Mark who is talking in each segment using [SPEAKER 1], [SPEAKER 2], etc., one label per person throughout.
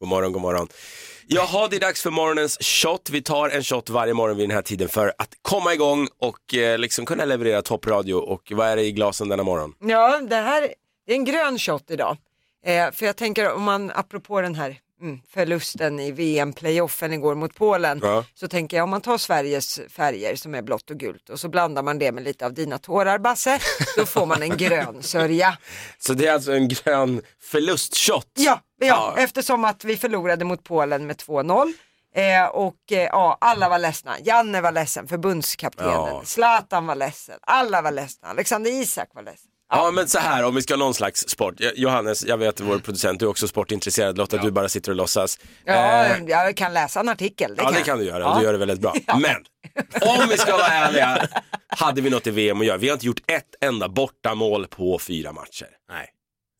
[SPEAKER 1] God morgon, god morgon. Jaha, det är dags för morgonens shot. Vi tar en shot varje morgon vid den här tiden för att komma igång och eh, liksom kunna leverera toppradio. Och vad är det i glasen denna morgon?
[SPEAKER 2] Ja, det här det är en grön shot idag. Eh, för jag tänker om man, apropå den här mm, förlusten i VM-playoffen igår mot Polen,
[SPEAKER 1] Ja.
[SPEAKER 2] så tänker jag om man tar Sveriges färger som är blått och gult och så blandar man det med lite av dina tårar Basse, då får man en grön sörja.
[SPEAKER 1] Så det är alltså en grön förlustshot.
[SPEAKER 2] Ja, ja,
[SPEAKER 1] Ja.
[SPEAKER 2] eftersom att vi förlorade mot Polen med 2-0. Eh, och eh, ja, alla var ledsna. Janne var ledsen, förbundskaptenen,
[SPEAKER 1] Ja.
[SPEAKER 2] Zlatan var ledsen, alla var ledsna, Alexander Isak var ledsen.
[SPEAKER 1] Ja men så här om vi ska ha någon slags sport. Jo- Johannes, jag vet
[SPEAKER 2] Mm.
[SPEAKER 1] vår producent, du är också sportintresserad. Lotta, du bara sitter och låtsas.
[SPEAKER 2] Ja,
[SPEAKER 1] Eh,
[SPEAKER 2] jag kan läsa en artikel. Det
[SPEAKER 1] ja
[SPEAKER 2] kan
[SPEAKER 1] det
[SPEAKER 2] jag.
[SPEAKER 1] kan du göra
[SPEAKER 2] Ja.
[SPEAKER 1] och du gör det väldigt bra. Men om vi ska vara ärliga, hade vi något i VM att göra? Vi har inte gjort ett enda bortamål på fyra matcher.
[SPEAKER 3] Nej.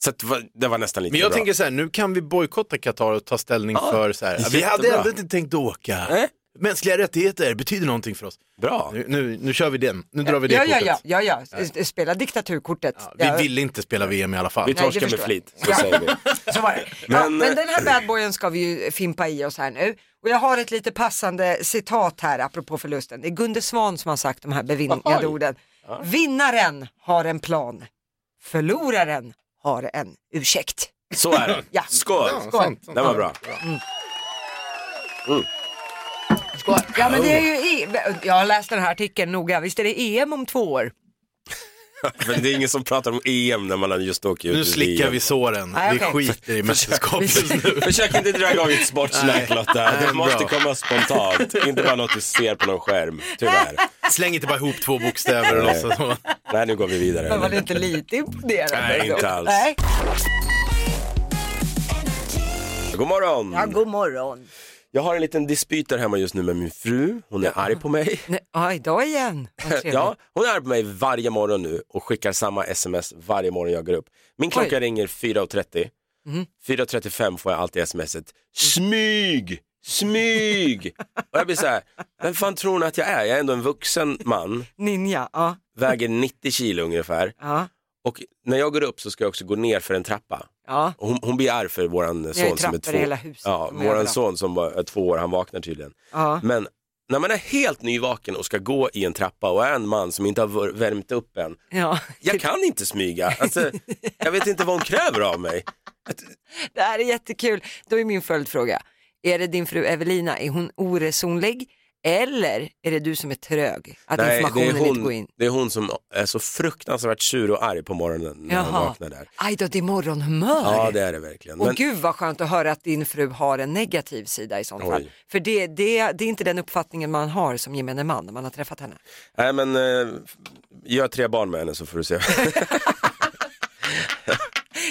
[SPEAKER 1] Så att, det var- det var nästan lite
[SPEAKER 3] Men jag
[SPEAKER 1] bra.
[SPEAKER 3] tänker så här, nu kan vi bojkotta Qatar och ta ställning för så här. Vi
[SPEAKER 1] jättebra.
[SPEAKER 3] hade ändå inte tänkt åka.
[SPEAKER 1] Nej.
[SPEAKER 3] Mänskliga rättigheter betyder någonting för oss.
[SPEAKER 1] Bra.
[SPEAKER 3] Nu, nu, nu kör vi den. Nu drar vi det
[SPEAKER 2] Ja, ja,
[SPEAKER 3] kortet.
[SPEAKER 2] ja, ja, ja. S- s- spela diktaturkortet.
[SPEAKER 3] Ja, Vi
[SPEAKER 2] Ja,
[SPEAKER 3] ville inte spela VM i alla fall.
[SPEAKER 1] Vi
[SPEAKER 2] Nej,
[SPEAKER 1] torskar
[SPEAKER 2] det
[SPEAKER 1] med
[SPEAKER 2] förstår jag.
[SPEAKER 1] flit, så säger vi.
[SPEAKER 2] Så var det. Men, ja,
[SPEAKER 1] Men,
[SPEAKER 2] men
[SPEAKER 1] eh,
[SPEAKER 2] den här badboyen ska vi ju fimpa i oss här nu. Och jag har ett lite passande citat här apropå förlusten. Det är Gunde Svan som har sagt de här bevingade orden. Vinnaren har en plan. Förloraren har en ursäkt.
[SPEAKER 1] Så är det.
[SPEAKER 2] Ja.
[SPEAKER 1] Skål!
[SPEAKER 2] Skål.
[SPEAKER 1] Det var bra.
[SPEAKER 2] Ja men det är ju, E- jag har läst den här artikeln noga, visst är det EM om två år?
[SPEAKER 1] Men det är ingen som pratar om EM när man har just åker ut
[SPEAKER 3] Nu
[SPEAKER 1] ur
[SPEAKER 3] slickar
[SPEAKER 1] VM.
[SPEAKER 3] vi såren.
[SPEAKER 2] Nej,
[SPEAKER 3] Vi
[SPEAKER 2] okej.
[SPEAKER 3] skiter i mästerskapet nu.
[SPEAKER 1] Försök inte dra igång ett sportsnack Lotta.
[SPEAKER 3] Nej,
[SPEAKER 1] Det måste
[SPEAKER 3] bra.
[SPEAKER 1] komma spontant. Inte bara något du ser på någon skärm. Tyvärr.
[SPEAKER 3] Släng inte bara ihop två bokstäver och
[SPEAKER 1] Nej.
[SPEAKER 3] låtsas som.
[SPEAKER 1] Nej, nu går vi
[SPEAKER 2] Jag var
[SPEAKER 1] vidare.
[SPEAKER 2] inte lite imponerad.
[SPEAKER 1] Nej,
[SPEAKER 2] ändå.
[SPEAKER 1] inte alls.
[SPEAKER 2] Nej.
[SPEAKER 1] God morgon!
[SPEAKER 2] Ja, god morgon.
[SPEAKER 1] Jag har en liten dispyt där hemma just nu med min fru. Hon är arg på mig.
[SPEAKER 2] Nej, ja, idag igen. Vad trevligt.
[SPEAKER 1] Ja, hon är arg på mig varje morgon nu och skickar samma sms varje morgon jag går upp. Min klocka
[SPEAKER 2] Oj. Mhm.
[SPEAKER 1] ringer 4.30. 4.35 får jag alltid smset. Smyg! Smyg! och jag blir så här, vem fan tror hon att jag är? Jag är ändå en vuxen man,
[SPEAKER 2] Ninja, ja.
[SPEAKER 1] väger 90 kilo ungefär.
[SPEAKER 2] ja,
[SPEAKER 1] Och när jag går upp så ska jag också gå ner för en trappa.
[SPEAKER 2] ja.
[SPEAKER 1] Och Hon, hon blir arg för våran
[SPEAKER 2] är
[SPEAKER 1] son som är
[SPEAKER 2] trappor i
[SPEAKER 1] två,
[SPEAKER 2] hela huset,
[SPEAKER 1] ja,
[SPEAKER 2] de är
[SPEAKER 1] våran
[SPEAKER 2] överallt.
[SPEAKER 1] son som var, är två år, han vaknar tydligen.
[SPEAKER 2] ja.
[SPEAKER 1] Men när man är helt nyvaken och ska gå i en trappa och är en man som inte har vär- värmt upp än,
[SPEAKER 2] Ja,
[SPEAKER 1] jag kan inte smyga. Alltså, jag vet inte vad hon kräver av mig.
[SPEAKER 2] det här är jättekul. Då är min följdfråga, är det din fru Evelina, är hon oresonlig eller är det du som är trög? Att
[SPEAKER 1] det, är
[SPEAKER 2] informationen inte går
[SPEAKER 1] hon,
[SPEAKER 2] in?
[SPEAKER 1] det är hon som är så fruktansvärt sur och arg på morgonen när hon
[SPEAKER 2] Jaha.
[SPEAKER 1] vaknar där.
[SPEAKER 2] Aj då, det är morgonhumör.
[SPEAKER 1] Ja, det är det verkligen.
[SPEAKER 2] Och
[SPEAKER 1] Men
[SPEAKER 2] gud vad skönt att höra att din fru har en negativ sida i sånt
[SPEAKER 1] Oj.
[SPEAKER 2] fall. För det, det, det är inte den uppfattningen man har som gemene man när man har träffat henne.
[SPEAKER 1] Nej men, eh, gör tre barn med henne så får du se.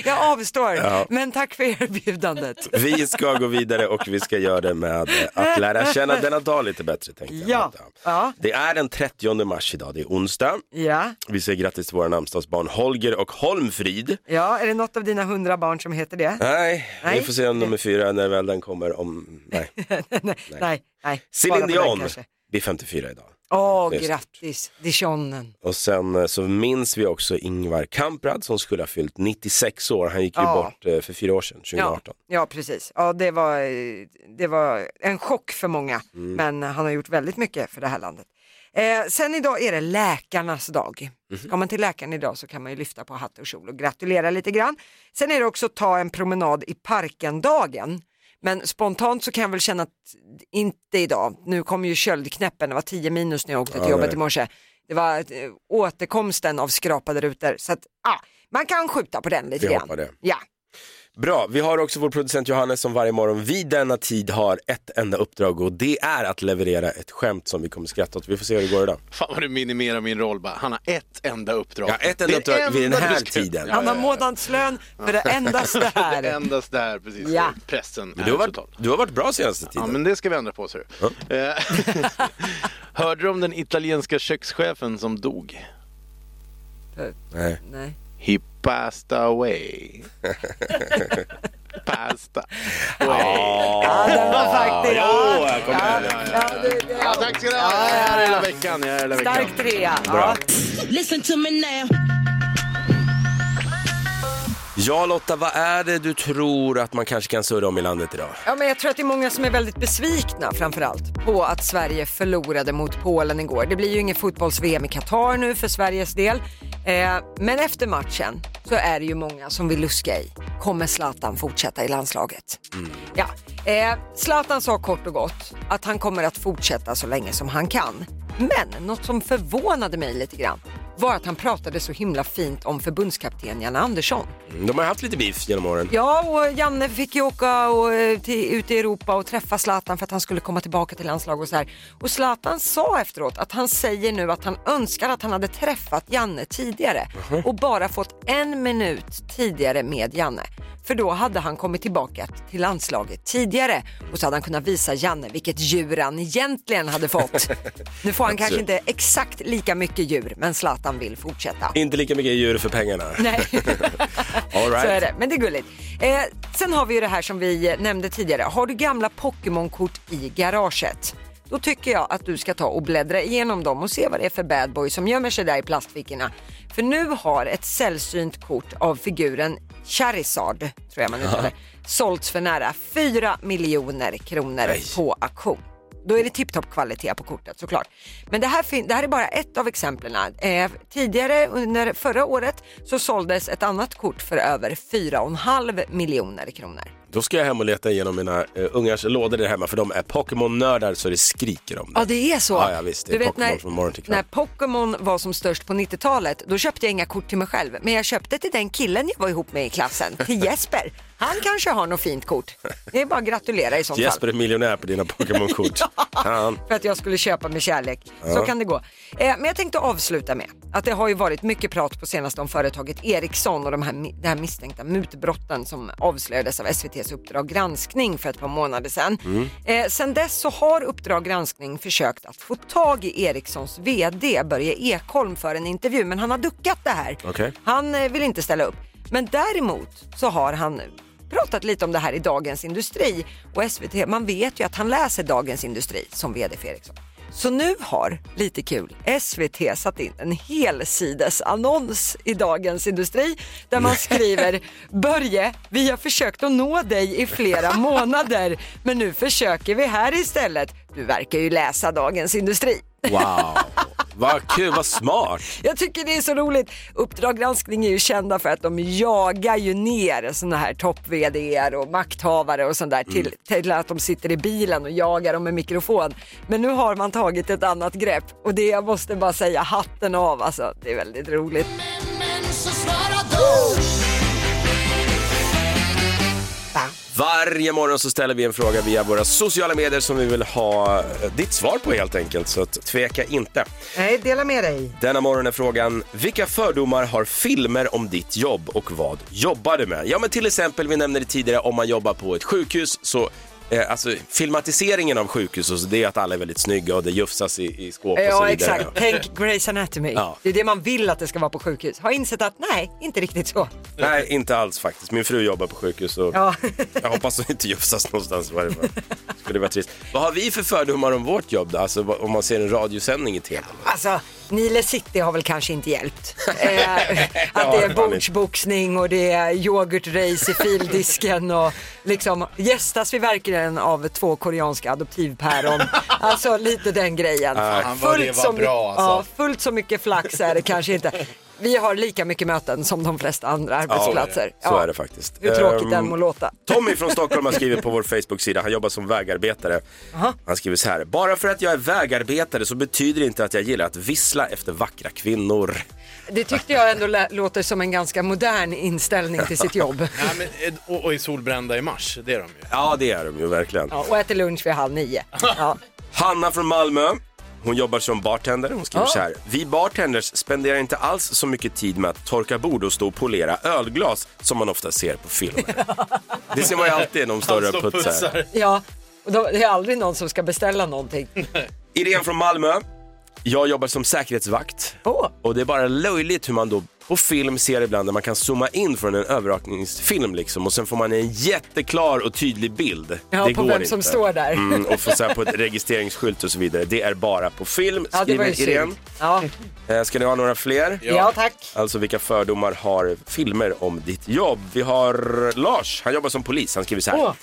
[SPEAKER 2] Jag avstår, men tack för erbjudandet.
[SPEAKER 1] Vi ska gå vidare och vi ska göra det med eh, att lära känna denna dag lite bättre tänkte jag.
[SPEAKER 2] Ja. Ja.
[SPEAKER 1] Det är den 30 mars idag, det är onsdag.
[SPEAKER 2] Ja.
[SPEAKER 1] Vi säger grattis till våra namnsdagsbarn Holger och Holmfrid.
[SPEAKER 2] ja, är det något av dina hundra barn som heter det?
[SPEAKER 1] Nej,
[SPEAKER 2] Nej.
[SPEAKER 1] vi får se om nummer fyra när väl den kommer om... Nej.
[SPEAKER 2] nej, nej. nej.
[SPEAKER 1] Céline
[SPEAKER 2] Bara på den
[SPEAKER 1] Dion
[SPEAKER 2] kanske.
[SPEAKER 1] blir 54 idag.
[SPEAKER 2] Åh,
[SPEAKER 1] Det är stort.
[SPEAKER 2] grattis, Dijonen.
[SPEAKER 1] Och sen eh, så minns vi också Ingvar Kamprad som skulle ha fyllt 96 år. Han gick ju
[SPEAKER 2] Ja.
[SPEAKER 1] bort eh, för fyra år sedan, 2018.
[SPEAKER 2] Ja, ja, precis. Ja, det, var, eh, det var en chock för många,
[SPEAKER 1] Mm.
[SPEAKER 2] men han har gjort väldigt mycket för det här landet. Eh, sen idag är det läkarnas dag.
[SPEAKER 1] Mhm.
[SPEAKER 2] Ska man till läkaren idag så kan man ju lyfta på hatt och kjol och gratulera lite grann. Sen är det också ta en promenad i parken-dagen. Men spontant så kan jag väl känna att inte idag. Nu kom ju köldknäppen, det var 10 minus när jag åkte till
[SPEAKER 1] Ja,
[SPEAKER 2] jobbet
[SPEAKER 1] nej.
[SPEAKER 2] i morse. Det var eh, återkomsten av skrapade rutor. Så att, ah, man kan skjuta på den lite
[SPEAKER 1] Vi
[SPEAKER 2] grann.
[SPEAKER 1] hoppar det.
[SPEAKER 2] Ja.
[SPEAKER 1] Bra, vi har också vår producent Johannes som varje morgon vid denna tid har ett enda uppdrag och det är att leverera ett skämt som vi kommer skratta åt. Vi får se hur det går idag.
[SPEAKER 3] Fan vad du minimerar min roll bara. Han har ett enda uppdrag.
[SPEAKER 1] Ja, ett enda
[SPEAKER 3] Det
[SPEAKER 1] uppdrag vid den
[SPEAKER 3] enda
[SPEAKER 1] här
[SPEAKER 3] du ska-
[SPEAKER 1] tiden.
[SPEAKER 3] Ja,
[SPEAKER 2] Han
[SPEAKER 3] ja,
[SPEAKER 2] har
[SPEAKER 3] ja.
[SPEAKER 2] månadslön för det endast det
[SPEAKER 3] Det
[SPEAKER 2] här.
[SPEAKER 3] endast där precis.
[SPEAKER 2] Ja.
[SPEAKER 3] Pressen är
[SPEAKER 1] Du har varit,
[SPEAKER 3] total.
[SPEAKER 1] du har varit bra senaste
[SPEAKER 3] Ja,
[SPEAKER 1] tiden.
[SPEAKER 3] men det ska vi ändra på ser du. Eh, Hörde du om den italienska kökschefen som dog?
[SPEAKER 1] Nej.
[SPEAKER 2] Nej.
[SPEAKER 3] He passed away. Pasta.
[SPEAKER 2] Ja, den var faktiskt...
[SPEAKER 1] Åh,
[SPEAKER 2] Ja,
[SPEAKER 1] jag kommer här.
[SPEAKER 2] ja, det, det,
[SPEAKER 3] Ja,
[SPEAKER 2] ja.
[SPEAKER 3] tack ska du ha. Jag är här hela veckan. Jag är här hela veckan.
[SPEAKER 2] Stark trea.
[SPEAKER 1] Bra.
[SPEAKER 2] Ja.
[SPEAKER 4] Listen to me now.
[SPEAKER 1] Ja Lotta, vad är det du tror att man kanske kan surra om i landet idag?
[SPEAKER 2] Ja, men jag tror att det är många som är väldigt besvikna framförallt på att Sverige förlorade mot Polen igår. Det blir ju ingen fotbolls-VM i Qatar nu för Sveriges del. Eh, men efter matchen så är det ju många som vill luska i. Kommer Zlatan fortsätta i landslaget? Ja. Eh, Zlatan sa kort och gott att han kommer att fortsätta så länge som han kan. Men något som förvånade mig lite grann var att han pratade så himla fint om förbundskapten Janne Andersson.
[SPEAKER 1] Mm, De har haft lite beef genom åren.
[SPEAKER 2] Ja, och Janne fick ju åka och, eh, till, ut i Europa och träffa Zlatan för att han skulle komma tillbaka till landslaget och så här. Och Zlatan sa efteråt att han säger nu att han önskar att han hade träffat Janne tidigare och bara fått en minut tidigare med Janne. För då hade han kommit tillbaka till landslaget tidigare och så hade han kunnat visa Janne vilket djur han egentligen hade fått. Nu får han kanske inte exakt lika mycket djur, men Zlatan vill fortsätta.
[SPEAKER 1] Inte lika mycket djur för pengarna.
[SPEAKER 2] Nej.
[SPEAKER 1] All right.
[SPEAKER 2] Så är det, men det är gulligt. Eh, sen har vi ju det här som vi nämnde tidigare. Har du gamla Pokémon-kort i garaget? Då tycker jag att du ska ta och bläddra igenom dem och se vad det är för bad boy som gömmer sig där i plastfickorna. För nu har ett sällsynt kort av figuren Charizard, tror jag man uttalar det, sålts för nära 4 miljoner kronor
[SPEAKER 1] Nej.
[SPEAKER 2] på auktion. Då är det tipptopp kvalitet på kortet såklart. Men det här, fin- det här är bara ett av exemplen. Eh, tidigare under förra året så såldes ett annat kort för över 4,5 miljoner kronor.
[SPEAKER 1] Då ska jag hem och leta igenom mina eh, ungars lådor där hemma för de är Pokémon-nördar så det skriker om det.
[SPEAKER 2] Ja det är så.
[SPEAKER 1] Ja, ja, visst. Det är
[SPEAKER 2] du vet
[SPEAKER 1] Pokémon
[SPEAKER 2] när,
[SPEAKER 1] från morgon till kväll.
[SPEAKER 2] när Pokémon var som störst på 90-talet, då köpte jag inga kort till mig själv. Men jag köpte till den killen jag var ihop med i klassen, till Jesper. Han kanske har något fint kort. Det är bara att gratulera i sånt fall.
[SPEAKER 1] Jesper är miljonär på dina Pokémon-kort. Han.
[SPEAKER 2] för att jag skulle köpa med kärlek. Så kan det gå. Eh, men jag tänkte avsluta med att det har ju varit mycket prat på senaste om företaget Ericsson och de här, mi- det här misstänkta mutbrotten som avslöjades av SVTs Uppdrag granskning för ett par månader sedan. Eh, sen dess så har Uppdrag granskning försökt att få tag i Ericssons VD Börje Ekholm för en intervju men han har duckat det här.
[SPEAKER 1] Okej.
[SPEAKER 2] Han eh, vill inte ställa upp. Men däremot så har han pratat lite om det här i Dagens Industri och SVT. Man vet ju att han läser Dagens Industri som vd för Ericsson. Så nu har, lite kul, SVT satt in en helsidesannons i Dagens Industri där man skriver Börje, vi har försökt att nå dig i flera månader men nu försöker vi här istället. Du verkar ju läsa Dagens Industri.
[SPEAKER 1] Wow, vad kul, vad smart.
[SPEAKER 2] Jag tycker det är så roligt. Uppdrag granskning är ju kända för att de jagar ju ner sådana här topp-VDer och makthavare och sånt där till,
[SPEAKER 1] Mm.
[SPEAKER 2] till att de sitter i bilen och jagar dem med mikrofon. Men nu har man tagit ett annat grepp och det jag måste bara säga hatten av alltså. Det är väldigt roligt. Va?
[SPEAKER 1] Varje morgon så ställer vi en fråga via våra sociala medier som vi vill ha eh, ditt svar på helt enkelt, så att tveka inte.
[SPEAKER 2] Nej, dela med dig.
[SPEAKER 1] Denna morgon är frågan, vilka fördomar har filmer om ditt jobb och vad jobbar du med? Ja men till exempel, vi nämnde det tidigare, om man jobbar på ett sjukhus så eh, Alltså filmatiseringen av sjukhus, och så det är att alla är väldigt snygga och det jufsas i, i skåp och så
[SPEAKER 2] Ja
[SPEAKER 1] vidare.
[SPEAKER 2] exakt, tänk Grey's Anatomy.
[SPEAKER 1] Ja.
[SPEAKER 2] Det är det man vill att det ska vara på sjukhus. Har insett att nej, inte riktigt så.
[SPEAKER 1] Nej, inte alls faktiskt. Min fru jobbar på sjukhus och
[SPEAKER 2] Ja.
[SPEAKER 1] jag hoppas hon inte jufsas någonstans i varje fall. Skulle vara trist. Vad har vi för fördomar om vårt jobb då? Alltså vad- om man ser en radiosändning i tv?
[SPEAKER 2] Alltså, Nile City har väl kanske inte hjälpt. Eh, att
[SPEAKER 1] har
[SPEAKER 2] det
[SPEAKER 1] det
[SPEAKER 2] är
[SPEAKER 1] fan
[SPEAKER 2] bordsboxning och det är yoghurtrace i fildisken och liksom gästas vi verkligen av två koreanska adoptivpäron. Alltså lite den grejen.
[SPEAKER 3] Fan, vad det var
[SPEAKER 2] så, my-
[SPEAKER 3] bra, alltså.
[SPEAKER 2] ja, fullt så mycket flax är det kanske inte. Vi har lika mycket möten som de flesta andra arbetsplatser.
[SPEAKER 1] Alltså, Så är det faktiskt.
[SPEAKER 2] Hur tråkigt
[SPEAKER 1] Ehm,
[SPEAKER 2] den må låta.
[SPEAKER 1] Tommy från Stockholm har skrivit på vår Facebook-sida, han jobbar som vägarbetare. Han skriver så här, bara för att jag är vägarbetare så betyder det inte att jag gillar att vissla efter vackra kvinnor.
[SPEAKER 2] Det tyckte jag ändå lä- låter som en ganska modern inställning till sitt jobb.
[SPEAKER 3] Nej, men, eh, och, och är solbrända i mars, det är de ju.
[SPEAKER 1] Ja, det är de ju verkligen.
[SPEAKER 2] Ja, och äter lunch vid halv nio. Ja.
[SPEAKER 1] Hanna från Malmö. Hon jobbar som bartender. Hon skriver
[SPEAKER 2] Ja.
[SPEAKER 1] så här. Vi bartenders spenderar inte alls så mycket tid med att torka bord och stå och polera ölglas som man ofta ser på filmer. Det ser man ju alltid när de står och putsar.
[SPEAKER 2] Ja, och då, det är aldrig någon som ska beställa någonting.
[SPEAKER 1] Irene från Malmö. Jag jobbar som säkerhetsvakt.
[SPEAKER 2] Åh.
[SPEAKER 1] Och det är bara löjligt hur man då
[SPEAKER 5] på film ser ibland där man kan zooma in från en övervakningsfilm liksom och sen får man en jätteklar och tydlig bild.
[SPEAKER 2] Ja, på vem som står där.
[SPEAKER 5] Mm, och får så här på ett registreringsskylt och så vidare. Det är bara på film,
[SPEAKER 2] Ja, det var
[SPEAKER 5] skriver
[SPEAKER 2] ju
[SPEAKER 5] Irene.
[SPEAKER 2] synd. Ja.
[SPEAKER 5] Eh, Ska ni ha några fler?
[SPEAKER 2] ja, tack.
[SPEAKER 5] Alltså vilka fördomar har filmer om ditt jobb? Vi har Lars, han jobbar som polis, han skriver så här.
[SPEAKER 2] Åh.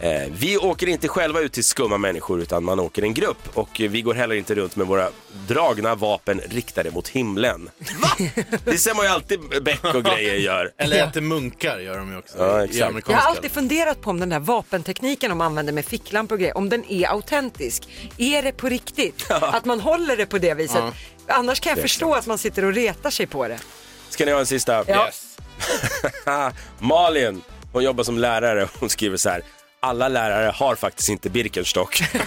[SPEAKER 5] Eh, vi åker inte själva ut till skumma människor utan man åker en grupp och eh, vi går heller inte runt med våra dragna vapen riktade mot himlen. Va? Det ser man ju alltid Beck och grejer gör.
[SPEAKER 3] Eller äter munkar gör de ju också.
[SPEAKER 5] Ja,
[SPEAKER 3] i- I
[SPEAKER 5] exakt.
[SPEAKER 2] Jag
[SPEAKER 3] amerikanska.
[SPEAKER 2] har alltid funderat på om den där vapentekniken de använder med ficklampor och grejer, om den är autentisk. Är det på riktigt? Att man håller det på det viset. Annars kan jag förstå att man sitter och retar sig på det.
[SPEAKER 5] Ska ni ha en sista?
[SPEAKER 2] Ja.
[SPEAKER 3] Yes.
[SPEAKER 5] Ah, Malin, hon jobbar som lärare. Hon skriver så här. Alla lärare har faktiskt inte Birkenstock. ja,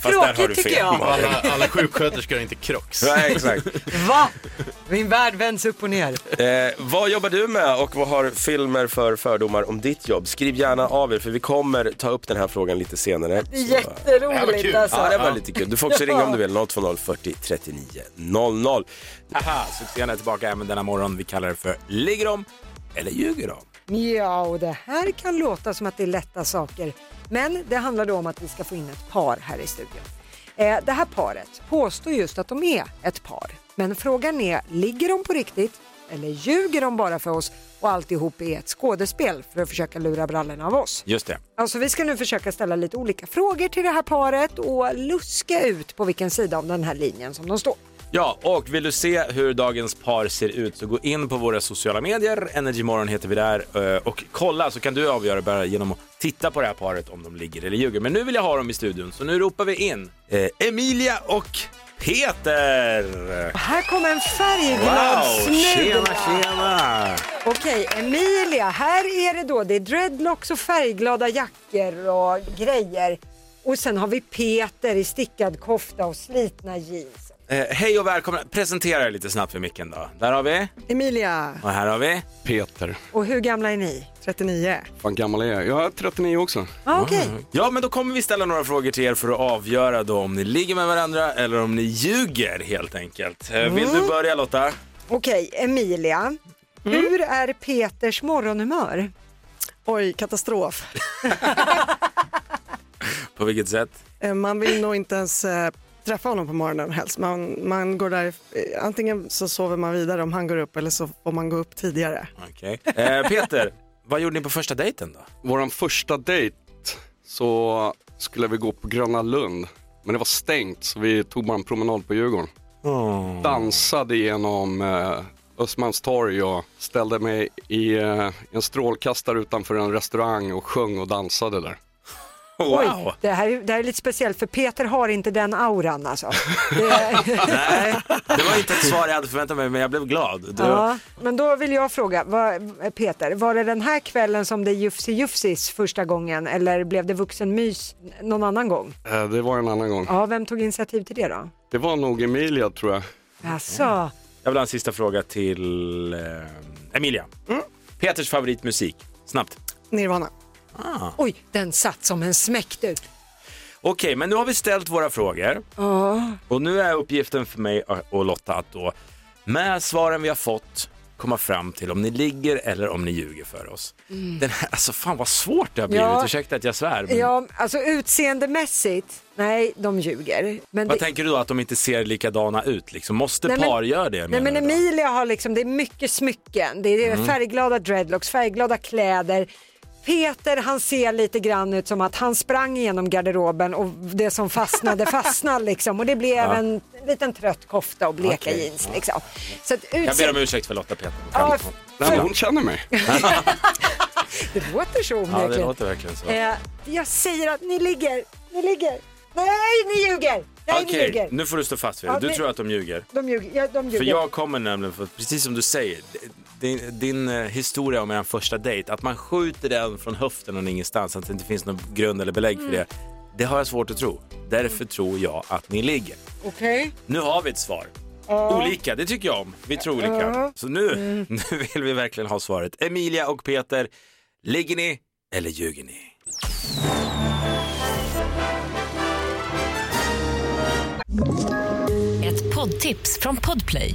[SPEAKER 5] fast där har du
[SPEAKER 2] Tråkigt, tycker
[SPEAKER 5] fel.
[SPEAKER 2] jag.
[SPEAKER 5] Malin.
[SPEAKER 3] Alla, alla sjuksköterskor har inte Crocs.
[SPEAKER 5] Ja, exakt.
[SPEAKER 2] Va? Min värld vänds upp och ner.
[SPEAKER 5] Eh, vad jobbar du med och vad har filmer för fördomar om ditt jobb? Skriv gärna av er för vi kommer ta upp den här frågan lite senare.
[SPEAKER 2] Det är
[SPEAKER 5] Så-
[SPEAKER 3] Det här var
[SPEAKER 2] Jätteroligt
[SPEAKER 3] kul.
[SPEAKER 2] alltså.
[SPEAKER 5] Ja, det var
[SPEAKER 3] Ja.
[SPEAKER 5] lite kul. Du får också ringa om du vill. 020 40 39 00.
[SPEAKER 1] Haha, succén är tillbaka även denna morgon. Vi kallar det för Ligger de eller ljuger de?
[SPEAKER 2] Ja, och det här kan låta som att det är lätta saker, men det handlar då om att vi ska få in ett par här i studion. Eh, det här paret påstår just att de är ett par, men frågan är, ligger de på riktigt eller ljuger de bara för oss och alltihop är ett skådespel för att försöka lura brallorna av oss?
[SPEAKER 1] Just det.
[SPEAKER 2] Alltså, vi ska nu försöka ställa lite olika frågor till det här paret och luska ut på vilken sida av den här linjen som de står.
[SPEAKER 1] Ja, och vill du se hur dagens par ser ut så gå in på våra sociala medier. Energymorgon heter vi där. eh, Och kolla så kan du avgöra bara genom att titta på det här paret om de ligger eller ljuger. Men nu vill jag ha dem i studion så nu ropar vi in eh, Emilia och Peter!
[SPEAKER 2] Här kommer en färgglad snubbe.
[SPEAKER 1] Tjena, tjena!
[SPEAKER 2] Okej, Emilia, här är det då. Det är dreadlocks och färgglada jackor och grejer. Och sen har vi Peter i stickad kofta och slitna jeans.
[SPEAKER 1] Eh, hej och välkomna. Presentera er lite snabbt för micken då. Där har vi.
[SPEAKER 6] Emilia,
[SPEAKER 1] Och här har vi.
[SPEAKER 7] Peter.
[SPEAKER 2] Och hur gamla är ni?
[SPEAKER 6] 39.
[SPEAKER 7] Vad gammal är jag? Jag är 39 också.
[SPEAKER 2] Ah, Okej,
[SPEAKER 1] Ja, men då kommer vi ställa några frågor till er för att avgöra då om ni ligger med varandra eller om ni ljuger helt enkelt. Eh, Vill du börja Lotta?
[SPEAKER 2] okej, Emilia. Hur är Peters morgonhumör?
[SPEAKER 6] Oj, katastrof.
[SPEAKER 1] På vilket sätt?
[SPEAKER 6] Eh, Man vill nog inte ens eh, träffa honom på morgonen helst. Man, man går där, eh, antingen så sover man vidare om han går upp eller så får man gå upp tidigare.
[SPEAKER 1] Okej. Eh, Peter, vad gjorde ni på första dejten då?
[SPEAKER 7] Vår första dejt så skulle vi gå på Gröna Lund. Men det var stängt så vi tog bara en promenad på Djurgården.
[SPEAKER 2] Mm.
[SPEAKER 7] Dansade genom eh, Östermalmstorg och ställde mig i eh, en strålkastare utanför en restaurang och sjöng och dansade där.
[SPEAKER 1] Wow!
[SPEAKER 2] Det här, är, det här är lite speciellt för Peter har inte den auran alltså. Det,
[SPEAKER 1] Nej, det var inte ett svar jag hade förväntat mig men jag blev glad. Du...
[SPEAKER 2] ja. Men då vill jag fråga, vad, Peter, var det den här kvällen som det jufsi jufsis första gången eller blev det vuxenmys någon annan gång?
[SPEAKER 7] Eh, det var en annan gång.
[SPEAKER 2] Ja, vem tog initiativ till det då?
[SPEAKER 7] Det var nog Emilia tror jag.
[SPEAKER 2] Alltså,
[SPEAKER 1] Jag vill ha en sista fråga till eh, Emilia.
[SPEAKER 2] Mm.
[SPEAKER 1] Peters favoritmusik, snabbt.
[SPEAKER 6] Nirvana.
[SPEAKER 2] oj, den satt som en smäck du.
[SPEAKER 1] Okej, men nu har vi ställt våra frågor. Och nu är uppgiften för mig och Lotta att då med svaren vi har fått komma fram till om ni ligger eller om ni ljuger för oss. Den här, alltså fan vad svårt det har blivit,
[SPEAKER 2] Mm. Ja.
[SPEAKER 1] ursäkta att jag svär. Men
[SPEAKER 2] Ja, alltså utseendemässigt, nej, de ljuger. Men
[SPEAKER 1] Vad
[SPEAKER 2] det,
[SPEAKER 1] tänker du då att de inte ser likadana ut liksom? Måste
[SPEAKER 2] Nej, men-
[SPEAKER 1] par göra det? menar
[SPEAKER 2] nej, men
[SPEAKER 1] du då? Mm.
[SPEAKER 2] Emilia har liksom, det är mycket smycken, det är färgglada dreadlocks, färgglada kläder. Peter han ser lite grann ut som att han sprang genom garderoben och det som fastnade fastnade liksom och det blev en liten trött kofta och bleka
[SPEAKER 1] Okej.
[SPEAKER 2] jeans liksom. Så att
[SPEAKER 1] Jag ber om
[SPEAKER 2] utseende...
[SPEAKER 1] ursäkt för Lotta Peter.
[SPEAKER 2] Ja,
[SPEAKER 1] Kan-
[SPEAKER 7] Nej, men hon känner mig.
[SPEAKER 2] det låter så
[SPEAKER 1] Ja, det
[SPEAKER 2] onekligen.
[SPEAKER 1] låter verkligen så.
[SPEAKER 2] Eh, jag säger att ni ligger, ni ligger. Nej, ni ljuger! Nej, ni
[SPEAKER 1] Okej,
[SPEAKER 2] ljuger.
[SPEAKER 1] nu får du stå fast vid det.
[SPEAKER 2] Ja,
[SPEAKER 1] Du
[SPEAKER 2] men-
[SPEAKER 1] tror att de ljuger.
[SPEAKER 2] De ljuger. Ja, de ljuger.
[SPEAKER 1] För jag kommer nämligen, för, precis som du säger, din, din eh, historia om er första dejt, att man skjuter den från höften och ingenstans, att det inte finns någon grund eller belägg
[SPEAKER 2] Mm.
[SPEAKER 1] för det, det har jag svårt att tro. Därför tror jag att ni ligger.
[SPEAKER 2] Okej.
[SPEAKER 1] Nu har vi ett svar. Olika, det tycker jag om. Vi tror olika. Så nu, nu vill vi verkligen ha svaret. Emilia och Peter, ligger ni eller ljuger ni?
[SPEAKER 8] Ett poddtips från Podplay.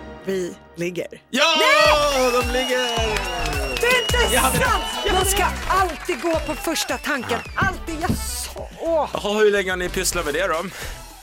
[SPEAKER 6] Vi ligger.
[SPEAKER 1] Ja! De ligger!
[SPEAKER 2] Det är inte sant! Man ska alltid gå på första tanken. Alltid. Jag sa... Åh.
[SPEAKER 1] Jaha, hur länge har ni pysslat med det då?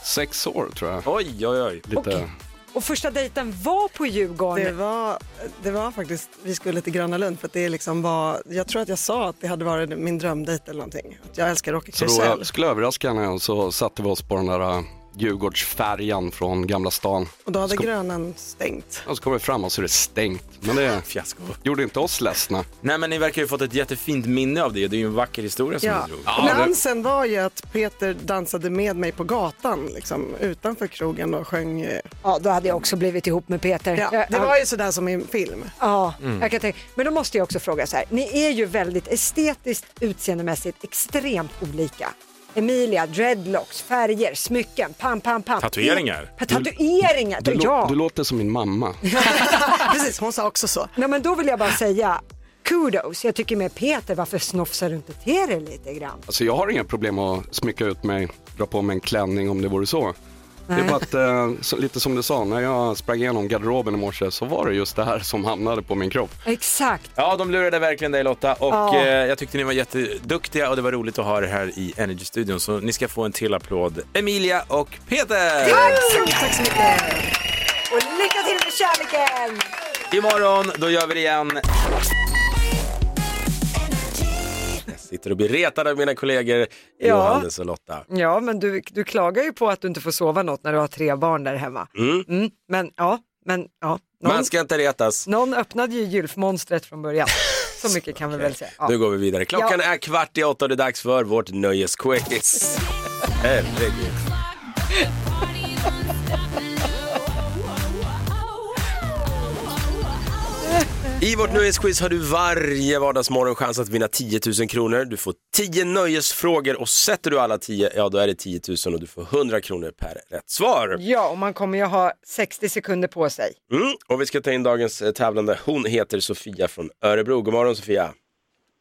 [SPEAKER 7] Sex år tror jag.
[SPEAKER 1] Oj, oj, oj.
[SPEAKER 7] Lite.
[SPEAKER 2] Och första dejten var på Djurgården.
[SPEAKER 6] Det var, det var faktiskt, vi skulle till Gröna Lund för att det liksom var, jag tror att jag sa att det hade varit min drömdejt eller någonting. Att jag älskar Åke
[SPEAKER 7] Så då
[SPEAKER 6] Krusell.
[SPEAKER 7] jag skulle överraska henne och så satte vi oss på den där äh, Djurgårdsfärjan från Gamla stan.
[SPEAKER 6] Och då hade Grönan stängt.
[SPEAKER 7] Och så kom vi fram och så är det stängt. Men det
[SPEAKER 1] Fiasko.
[SPEAKER 7] gjorde inte oss ledsna.
[SPEAKER 1] Nej, men ni verkar ju fått ett jättefint minne av det. Det är ju en vacker historia som
[SPEAKER 6] Ja.
[SPEAKER 1] ni drog.
[SPEAKER 6] Glansen var ju att Peter dansade med mig på gatan liksom, utanför krogen och sjöng. eh,
[SPEAKER 2] Ja, då hade jag också blivit ihop med Peter.
[SPEAKER 6] Ja,
[SPEAKER 2] Jag-
[SPEAKER 6] det var ju sådär som i en film.
[SPEAKER 2] Ja,
[SPEAKER 7] Mm.
[SPEAKER 2] jag kan tänka. Men då måste jag också fråga så här. Ni är ju väldigt estetiskt, utseendemässigt extremt olika. Emilia, dreadlocks, färger, smycken, pam, pam, pam.
[SPEAKER 1] Tatueringar.
[SPEAKER 2] I, tatueringar,
[SPEAKER 7] Du,
[SPEAKER 2] du,
[SPEAKER 7] lå-
[SPEAKER 2] ja.
[SPEAKER 7] du låter som min mamma.
[SPEAKER 6] Precis, hon sa också så.
[SPEAKER 2] Nej, men då vill jag bara säga kudos. Jag tycker med Peter, varför snofsar du inte till dig lite grann?
[SPEAKER 7] Alltså jag har inga problem att smycka ut mig, dra på mig en klänning om det vore så. Det är bara att, eh, så, lite som du sa, när jag sprang igenom garderoben i morse så var det just det här som hamnade på min kropp.
[SPEAKER 2] Exakt.
[SPEAKER 1] Ja, de lurade verkligen dig Lotta och
[SPEAKER 2] Ja.
[SPEAKER 1] eh, jag tyckte ni var jätteduktiga och det var roligt att ha er här i Energy-studion. Så ni ska få en till applåd. Emilia och Peter!
[SPEAKER 2] Tack så mycket. Och lycka till med kärleken.
[SPEAKER 1] Imorgon, då gör vi det igen. Jag sitter och blir retad av mina kollegor Johannes och Lotta.
[SPEAKER 2] Ja, men du, du klagar ju på att du inte får sova något när du har tre barn där hemma. Mm, men ja, men ja. Någon,
[SPEAKER 1] Man ska inte retas.
[SPEAKER 2] någon öppnade ju gylfmonstret från början. Så mycket kan vi väl säga. Ja.
[SPEAKER 1] Nu går vi vidare. Klockan är kvart i åtta och det är dags för vårt nöjesquiz. Herregud. I vårt nöjesquiz har du varje vardagsmorgon chans att vinna 10 000 kronor. Du får 10 nöjesfrågor och sätter du alla 10, ja då är det 10 000 och du får 100 kronor per rätt svar.
[SPEAKER 2] Ja, och man kommer ju ha 60 sekunder på sig.
[SPEAKER 1] Mm. Och vi ska ta in dagens eh, tävlande. Hon heter Sofia från Örebro. God morgon Sofia.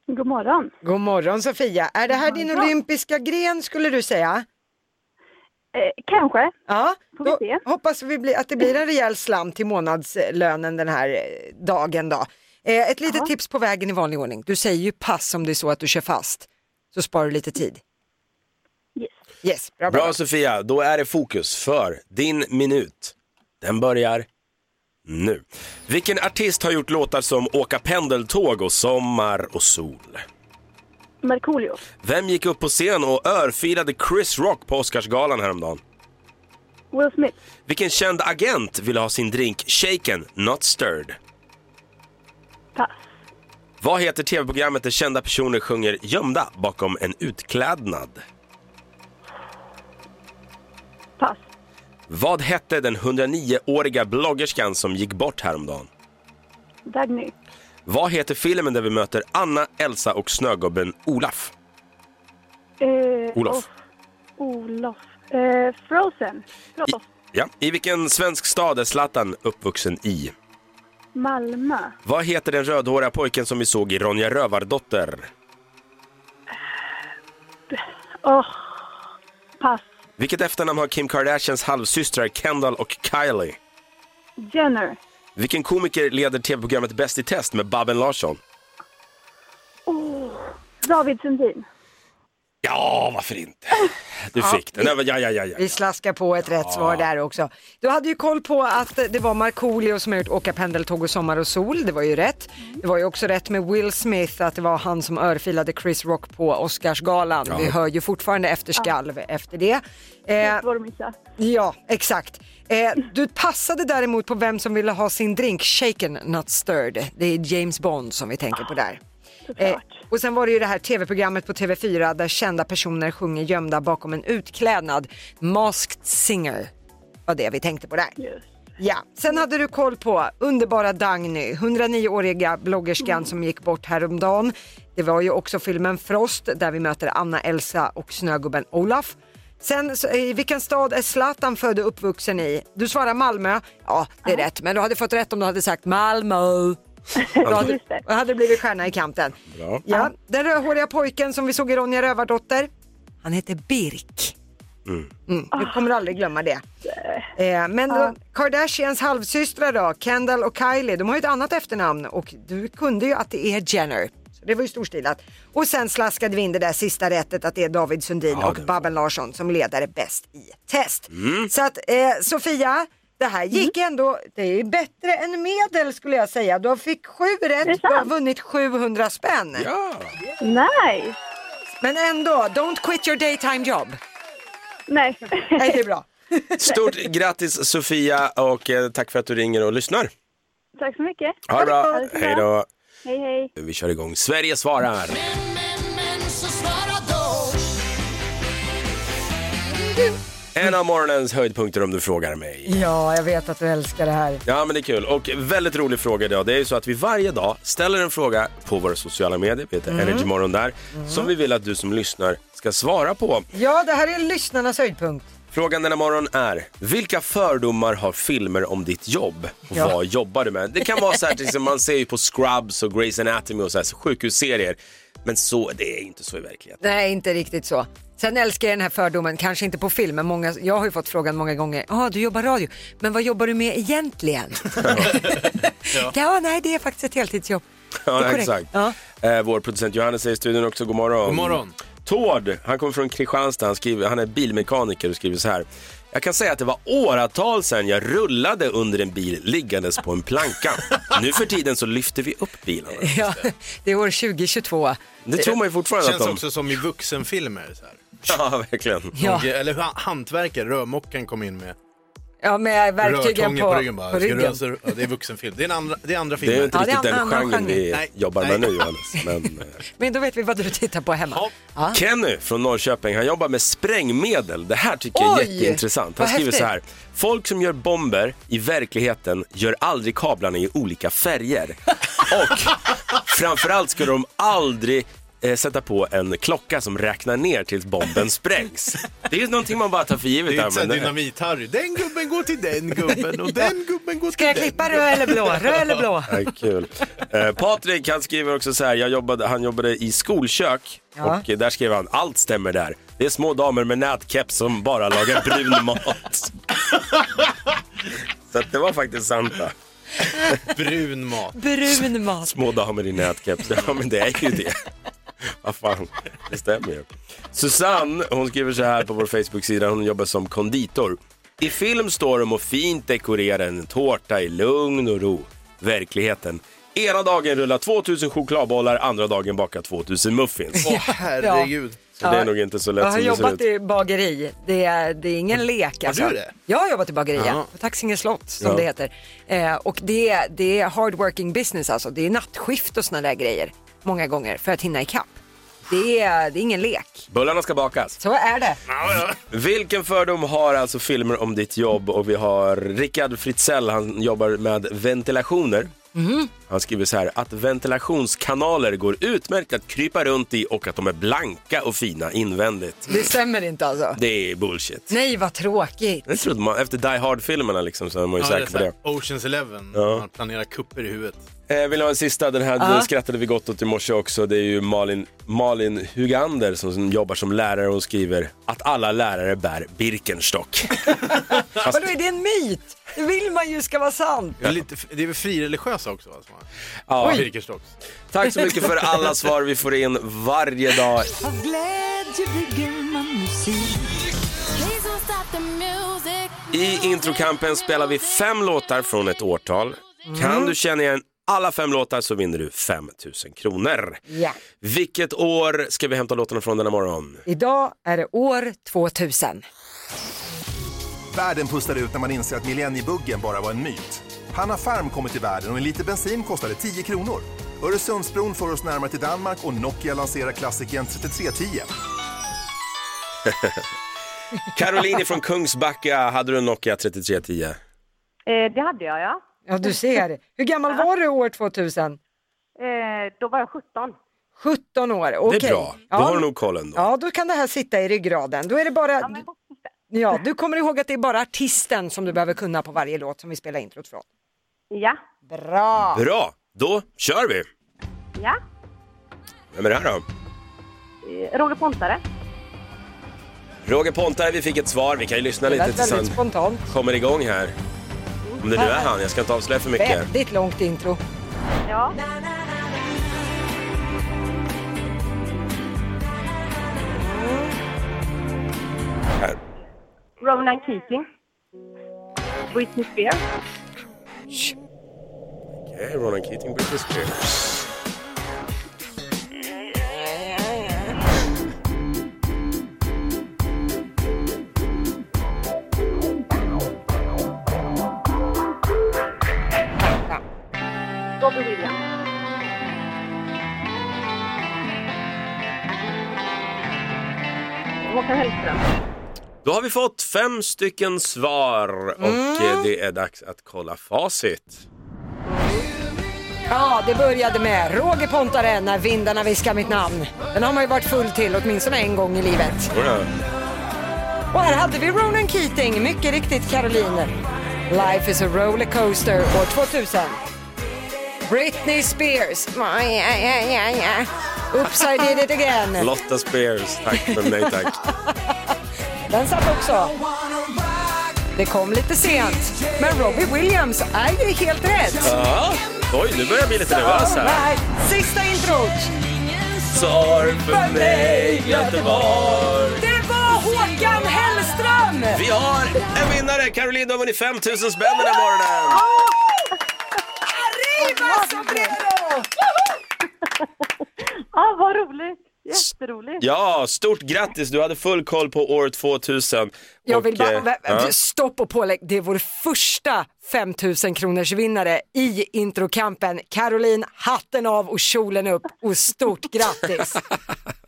[SPEAKER 9] God morgon.
[SPEAKER 2] God morgon Sofia. Är det här din olympiska gren skulle du säga?
[SPEAKER 9] Eh, kanske.
[SPEAKER 2] Ja,
[SPEAKER 9] Får vi
[SPEAKER 2] då
[SPEAKER 9] se.
[SPEAKER 2] hoppas vi blir, att det blir en rejäl slam till månadslönen den här eh, dagen då. Eh, ett litet tips på vägen i vanlig ordning. Du säger ju pass om det är så att du kör fast. Så sparar du lite tid.
[SPEAKER 9] Yes.
[SPEAKER 2] Yes, bra, bra.
[SPEAKER 1] Bra Sofia, då är det fokus för din minut. Den börjar nu. Vilken artist har gjort låtar som Åka pendeltåg och Sommar och sol?
[SPEAKER 9] Markoolio.
[SPEAKER 1] Vem gick upp på scen och örfilade Chris Rock på Oscarsgalan häromdagen?
[SPEAKER 9] Will Smith.
[SPEAKER 1] Vilken känd agent ville ha sin drink shaken, not stirred?
[SPEAKER 9] Pass.
[SPEAKER 1] Vad heter tv-programmet där kända personer sjunger gömda bakom en utklädnad?
[SPEAKER 9] Pass.
[SPEAKER 1] Vad hette den 109-åriga bloggerskan som gick bort häromdagen?
[SPEAKER 9] Dagny.
[SPEAKER 1] Vad heter filmen där vi möter Anna, Elsa och snögubben Olaf?
[SPEAKER 9] Eh,
[SPEAKER 1] Olof.
[SPEAKER 9] och- Olof. Eh, Frozen. Frost.
[SPEAKER 1] Ja. I vilken svensk stad är Zlatan uppvuxen i?
[SPEAKER 9] Malmö.
[SPEAKER 1] Vad heter den rödhåriga pojken som vi såg i Ronja Rövardotter?
[SPEAKER 9] Åh. Pass.
[SPEAKER 1] Vilket efternamn har Kim Kardashians halvsystrar Kendall och Kylie?
[SPEAKER 9] Jenner.
[SPEAKER 1] Vilken komiker leder tv-programmet Bäst i test med Babben Larsson?
[SPEAKER 9] David Sundin.
[SPEAKER 1] Ja, varför inte? Du fick den. Nej, men Ja, ja, ja, ja.
[SPEAKER 2] Vi slaskar på ett rätt svar där också. Du hade ju koll på att det var Markoolio som har gjort Åka pendeltåg och Sommar och sol, det var ju rätt. Det var ju också rätt med Will Smith, att det var han som örfilade Chris Rock på Oscarsgalan. Vi hör ju fortfarande efterskalv efter det. Eh,
[SPEAKER 9] Svår att missa.
[SPEAKER 2] ja, exakt. Eh, du passade däremot på vem som ville ha sin drink shaken, not stirred. Det är James Bond som vi tänker på där. Eh,
[SPEAKER 9] Såklart.
[SPEAKER 2] och sen var det ju det här tv-programmet på TV4 där kända personer sjunger gömda bakom en utklädnad. Masked Singer var det vi tänkte på där.
[SPEAKER 9] Just.
[SPEAKER 2] Ja, sen hade du koll på underbara Dagny, 109-åriga bloggerskan som gick bort häromdagen. Det var ju också filmen Frost där vi möter Anna, Elsa och snögubben Olaf. Sen, så, i vilken stad är Zlatan född och uppvuxen i? Du svarar Malmö. Ja, det är rätt, men du hade fått rätt om du hade sagt Malmö. Då hade,
[SPEAKER 8] Just det.
[SPEAKER 2] då hade det blivit stjärna i kanten.
[SPEAKER 1] Bra.
[SPEAKER 2] Ja, den rödhåriga pojken som vi såg i Ronja Rövardotter, han heter Birk.
[SPEAKER 1] Mm.
[SPEAKER 2] Mm, du kommer aldrig glömma det. Eh, men då, Kardashians halvsystrar då, Kendall och Kylie, de har ju ett annat efternamn och du kunde ju att det är Jenner. Så det var ju storstilat. Och sen slaskade vi in det där sista rättet att det är David Sundin och Babben Larsson som ledare bäst i test. Så att eh, Sofia, det här gick ändå, det är ju bättre än medel skulle jag säga. Du fick sju rätt, du har vunnit 700 spänn.
[SPEAKER 8] Nej.
[SPEAKER 2] Men ändå, don't quit your daytime job.
[SPEAKER 8] Nej.
[SPEAKER 2] Nej, det är bra.
[SPEAKER 1] Stort grattis Sofia och eh, tack för att du ringer och lyssnar.
[SPEAKER 8] Tack så mycket.
[SPEAKER 1] Ha det bra.
[SPEAKER 8] så
[SPEAKER 1] Hej då.
[SPEAKER 8] Hej, hej.
[SPEAKER 1] Vi kör igång. Sverige svarar. En av morgonens höjdpunkter om du frågar mig.
[SPEAKER 2] Ja, jag vet att du älskar det här.
[SPEAKER 1] Ja, men det är kul. Och väldigt rolig fråga idag. Det är ju så att vi varje dag ställer en fråga på våra sociala medier, vi heter
[SPEAKER 2] Mm.
[SPEAKER 1] Energymorgon där, som vi vill att du som lyssnar ska svara på.
[SPEAKER 2] Ja, det här är lyssnarnas höjdpunkt.
[SPEAKER 1] Frågan denna morgon är, vilka fördomar har filmer om ditt jobb? Och
[SPEAKER 2] Ja.
[SPEAKER 1] Vad jobbar du med? Det kan vara så här, till exempel, man ser ju på Scrubs och Grey's Anatomy och så här, så sjukhusserier, men så, det är inte så i verkligheten.
[SPEAKER 2] Nej, inte riktigt så. Sen älskar jag den här fördomen, kanske inte på film, men många, jag har ju fått frågan många gånger, ja ah, du jobbar radio, men vad jobbar du med egentligen? ja. nej det är faktiskt ett heltidsjobb.
[SPEAKER 1] Ja,
[SPEAKER 2] Det är korrekt.
[SPEAKER 1] exakt. Eh, vår producent Johannes är i studion också. God morgon.
[SPEAKER 4] God morgon.
[SPEAKER 1] Tord, han kommer från Kristianstad. Han, skriver, han är bilmekaniker och skriver så här. Jag kan säga att det var åratal sedan jag rullade under en bil liggandes på en planka. nu för tiden så lyfter vi upp bilarna.
[SPEAKER 2] Ja, det är år 2022.
[SPEAKER 1] Det tror man ju fortfarande
[SPEAKER 4] Känns
[SPEAKER 1] att de...
[SPEAKER 4] också som i vuxenfilmer. Så här.
[SPEAKER 1] Ja, verkligen.
[SPEAKER 2] Ja.
[SPEAKER 3] eh,
[SPEAKER 4] Eller hur han- hantverkare, rörmokaren kom in med
[SPEAKER 2] Ja, med verktygen
[SPEAKER 4] rörtången
[SPEAKER 2] på,
[SPEAKER 4] på, ryggen. Bara.
[SPEAKER 2] på
[SPEAKER 4] Ska
[SPEAKER 2] ryggen.
[SPEAKER 4] röra sig- ja, det är vuxenfilm. Det är, en andra, det är andra
[SPEAKER 1] Det är
[SPEAKER 4] filmer.
[SPEAKER 1] ju inte
[SPEAKER 2] Ja, det är
[SPEAKER 1] riktigt
[SPEAKER 2] en
[SPEAKER 1] den
[SPEAKER 2] annan
[SPEAKER 1] genren vi
[SPEAKER 2] genre. Nej,
[SPEAKER 1] jobbar med nu, Johannes. Men, eh,
[SPEAKER 2] Men då vet vi vad du tittar på hemma. Ja.
[SPEAKER 1] Kenny från Norrköping, han jobbar med sprängmedel. Det här tycker jag är
[SPEAKER 2] Oj,
[SPEAKER 1] jätteintressant. Han
[SPEAKER 2] vad
[SPEAKER 1] skriver så här.
[SPEAKER 2] häftigt.
[SPEAKER 1] Folk som gör bomber i verkligheten gör aldrig kablarna i olika färger. Och framförallt skulle de aldrig eh, sätta på en klocka som räknar ner tills bomben sprängs. Det är ju någonting man bara tar för givet.
[SPEAKER 4] Det är inte
[SPEAKER 1] här, men-
[SPEAKER 4] såhär dynamit-Harry. Den gubben går till den gubben och den gubben går till
[SPEAKER 2] Ska jag klippa röd eller blå? Röd eller blå?
[SPEAKER 1] Ja, kul. Eh, Patrik han skriver också så här, jag jobbade, han jobbade i skolkök
[SPEAKER 2] Ja.
[SPEAKER 1] och eh, där skrev han, allt stämmer där. Det är små damer med nätkeps som bara lagar brun mat. så att det var faktiskt sant då.
[SPEAKER 4] brun mat.
[SPEAKER 2] Brun mat.
[SPEAKER 1] Små damer i nätkeps, ja men det är ju det. Vad fan, det stämmer ju. Susanne, hon skriver så här på vår Facebook-sida, hon jobbar som konditor. I film står de och fint dekorerar en tårta i lugn och ro. Verkligheten. Ena dagen rullar 2000 chokladbollar, andra dagen bakar 2000 muffins.
[SPEAKER 4] Åh herregud.
[SPEAKER 1] Så det är nog inte så lätt
[SPEAKER 2] Jag har
[SPEAKER 1] som det ser
[SPEAKER 2] jobbat
[SPEAKER 1] ut.
[SPEAKER 2] i bageri. Det är, det är ingen lek. Alltså.
[SPEAKER 4] du det?
[SPEAKER 2] Jag har jobbat i bageri, ja.
[SPEAKER 4] Ja.
[SPEAKER 2] På Taxinge slott som
[SPEAKER 1] Ja.
[SPEAKER 2] det heter. Eh, och det, är- det är hard working business alltså. Det är nattskift och såna där grejer många gånger för att hinna ikapp. Det är, det är ingen lek.
[SPEAKER 1] Bullarna ska bakas.
[SPEAKER 2] Så är det.
[SPEAKER 1] Vilken fördom har alltså filmer om ditt jobb? Och vi har Rickard Fritzell, han jobbar med ventilationer.
[SPEAKER 4] Mhm.
[SPEAKER 1] Han skriver så här, att ventilationskanaler går utmärkt att krypa runt i och att de är blanka och fina invändigt.
[SPEAKER 2] Det stämmer inte alltså.
[SPEAKER 1] Det är bullshit.
[SPEAKER 2] Nej vad tråkigt.
[SPEAKER 1] Det trodde man, efter Die Hard-filmerna liksom, så är man ju
[SPEAKER 4] Ja, det är
[SPEAKER 1] säker på
[SPEAKER 4] såhär
[SPEAKER 1] det.
[SPEAKER 4] Oceans Eleven.
[SPEAKER 1] Ja.
[SPEAKER 4] Man planerar kupper i huvudet.
[SPEAKER 1] Eh, vill du ha en sista? Den här
[SPEAKER 2] Ja.
[SPEAKER 1] skrattade vi gott åt i morse också. Det är ju Malin, Malin Hugander som, som jobbar som lärare och skriver att alla lärare bär Birkenstock. Fast-
[SPEAKER 2] Vadå är det en myt? Det vill man ju ska vara sant.
[SPEAKER 4] Det är, lite, det är väl frireligiösa också? Alltså.
[SPEAKER 1] Ja.
[SPEAKER 4] Birkenstocks.
[SPEAKER 1] Tack så mycket för alla svar vi får in varje dag. I introkampen spelar vi fem låtar från ett årtal.
[SPEAKER 2] Mm.
[SPEAKER 1] Kan du känna igen alla fem låtar så vinner du 5 000 kronor.
[SPEAKER 2] Ja.
[SPEAKER 1] Vilket år ska vi hämta låtarna från denna morgon?
[SPEAKER 2] Idag är det år 2000.
[SPEAKER 10] Världen pustar ut när man inser att millenniebuggen bara var en myt. Hanna Farm kommer till världen och en liter bensin kostade 10 kronor. Öresundsbron för oss närmare till Danmark och Nokia lanserar klassikern 3310.
[SPEAKER 1] Caroline från Kungsbacka, hade du en Nokia 3310?
[SPEAKER 8] Eh, det hade jag, ja.
[SPEAKER 2] Ja, du ser. Hur gammal var du år 2000?
[SPEAKER 8] Eh, då var jag 17.
[SPEAKER 2] 17 år, okej.
[SPEAKER 1] Det är bra. Då
[SPEAKER 2] Ja,
[SPEAKER 1] har du nog kollen.
[SPEAKER 2] Ja, då kan det här sitta i ryggraden. Då är det bara... Ja, du kommer ihåg att det är bara artisten som du behöver kunna på varje låt som vi spelar introt från.
[SPEAKER 8] Ja.
[SPEAKER 2] Bra!
[SPEAKER 1] Bra, då kör vi.
[SPEAKER 8] Ja.
[SPEAKER 1] Vem är det här då?
[SPEAKER 8] Eh, Roger Pontare.
[SPEAKER 1] Roger Pontare, vi fick ett svar. Vi kan ju lyssna
[SPEAKER 2] Det
[SPEAKER 1] lite
[SPEAKER 2] lät
[SPEAKER 1] tills han
[SPEAKER 2] väldigt spontant.
[SPEAKER 1] kommer igång här. Om det nu är han, jag ska inte avslöja för mycket.
[SPEAKER 2] Väldigt långt intro.
[SPEAKER 8] Ja.
[SPEAKER 1] Här.
[SPEAKER 8] Ronan Keating. Britney Spears.
[SPEAKER 1] Okej, Ronan Keating, Britney Spears.
[SPEAKER 8] Bobby Williams. Håkan Hellström.
[SPEAKER 1] Då har vi fått fem stycken svar och
[SPEAKER 8] Mm.
[SPEAKER 1] eh, det är dags att kolla facit.
[SPEAKER 2] Ja, det började med Roger Pontare när vindarna viskar mitt namn. Den har man ju varit full till åtminstone en gång i livet.
[SPEAKER 1] Oj,
[SPEAKER 2] Och här hade vi Ronan Keating, mycket riktigt Caroline. Life is a rollercoaster år 2000. Britney Spears. Ja, ja, ja, ja, ja. Upside did it again.
[SPEAKER 1] Lotta Spears, tack men nej tack.
[SPEAKER 2] Den satt också. Det kom lite sent, men Robbie Williams är ju helt rätt.
[SPEAKER 1] Ja. Oj, nu börjar jag bli lite nervös här.
[SPEAKER 2] Alright, Sista introt.
[SPEAKER 1] Sorg för mig, Göteborg.
[SPEAKER 2] Det var Håkan Hellström!
[SPEAKER 1] Vi har en vinnare! Caroline, du har vunnit 5 000 spänn den här morgonen!
[SPEAKER 2] Arriba Sombrero!
[SPEAKER 8] Ja, vad roligt. Jätteroligt.
[SPEAKER 1] Ja, stort grattis! Du hade full koll på år 2000.
[SPEAKER 2] Jag
[SPEAKER 1] Och,
[SPEAKER 2] vill bara,
[SPEAKER 1] eh,
[SPEAKER 2] vä-
[SPEAKER 1] ja.
[SPEAKER 2] stopp och pålägg, det är vår första 5000 kronors vinnare i introkampen. Caroline, hatten av och kjolen upp och stort grattis!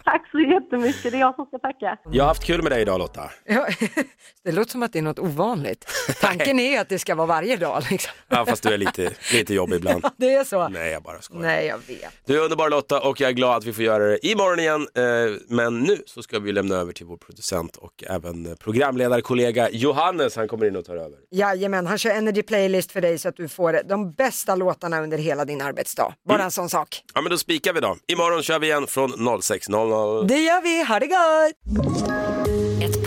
[SPEAKER 8] Tack så jättemycket. Det är jag som ska tacka.
[SPEAKER 1] Jag har haft kul med dig idag Lotta.
[SPEAKER 2] Ja, det låter som att det är något ovanligt. Tanken är att det ska vara varje dag liksom.
[SPEAKER 1] Ja, fast du är lite, lite jobbig ibland.
[SPEAKER 2] Det är så.
[SPEAKER 1] Nej, jag bara skojar.
[SPEAKER 2] Nej, jag vet.
[SPEAKER 1] Du är underbar Lotta och jag är glad att vi får göra det imorgon igen. Eh, Men nu så ska vi lämna över till vår producent och även programledarkollega Johannes. Han kommer in och tar över.
[SPEAKER 2] Jajamän, han kör Energy Playlist för dig så att du får de bästa låtarna under hela din arbetsdag. Bara
[SPEAKER 1] Mm.
[SPEAKER 2] en sån sak.
[SPEAKER 1] Ja, men då spikar vi då. Imorgon kör vi igen från 06.00.
[SPEAKER 2] Det gör vi, ha det gott!
[SPEAKER 11] Ett